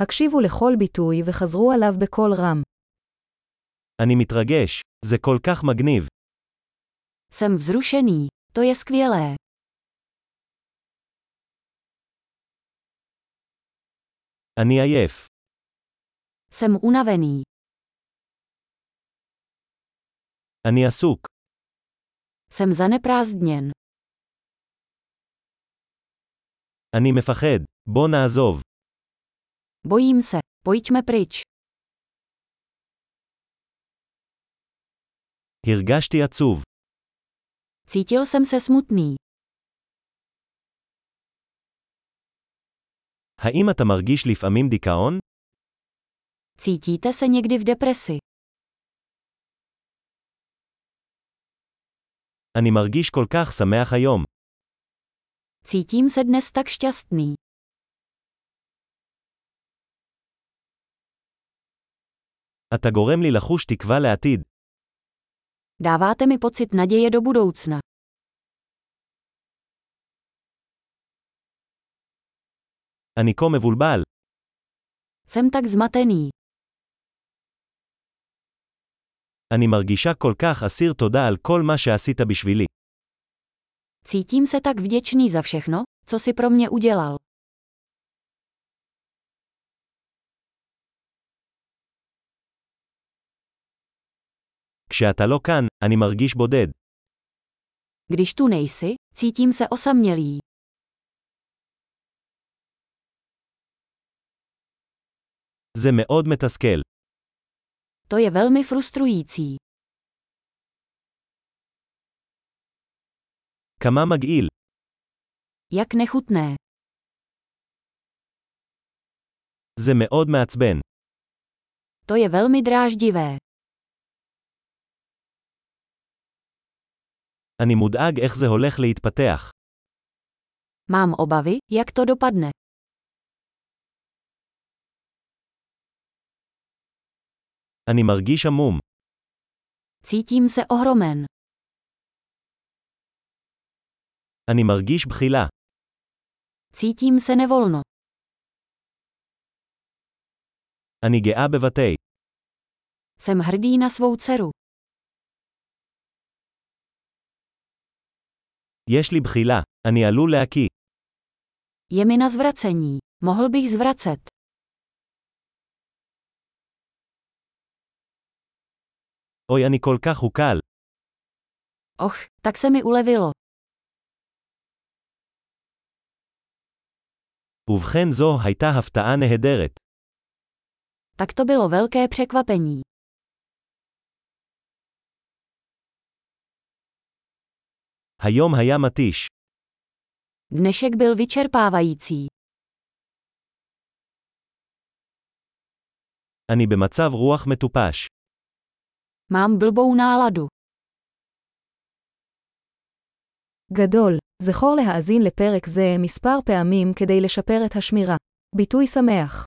הקשיבו לכל ביטוי וחזרו עליו בקול רם. אני מתרגש, זה כל כך מגניב. Jsem vzrušený, to je skvělé. אני עייף. Jsem unavený, אני עסוק. jsem zaneprázdněn, אני מפחד. בוא נעזוב. bojím se, pojďme pryč. הרגשתי עצוב. Cítil jsem se smutný. האם אתה מרגיש לפעמים דיכאון? Cítíte se někdy v depresi? אני מרגיש כל כך שמח היום. Cítím se dnes tak šťastný. אתה גורם לי לחוש תקווה לעתיד. Dáváte mi pocit naděje do budoucna. אני כה מבולבל. Jsem tak zmatený. אני מרגישה כל כך אסיר תודה על כל מה שעשית בשבילי. Cítím se tak vděčný za všechno, co si pro mě udělal. כשאתה לא כאן, אני מרגיש בודד. Když tu nejsi, cítím se osamělý. זה מאוד מתסכל. To je velmi frustrující. כמה מגעיל. Jak nechutné. זה מאוד מעצבן. To je velmi dráždivé. אני מודאג איך זה הולך להתפתח. Mám obavy, jak to dopadne. אני מרגיש עמום. Cítím se ohromen. אני מרגיש בחילה. Cítím se nevolno. אני גאה בבתי. Jsem hrdý na svou dceru. יש לי בחילה. אני עלול להקיא. Je mi na zvracení. Mohl bych zvracet. אוי, אני כל כך הוקל. Och, tak se mi ulevilo. ובכן זו הייתה הפתעה נהדרת. Tak to bylo velké překvapení. היום היה מתיש. Dnešek byl vyčerpávající. אני במצב רוח מטופש. Mám blbou náladu. גדול, זכור להאזין לפרק זה מספר פעמים כדי לשפר את השמירה. ביטוי שמח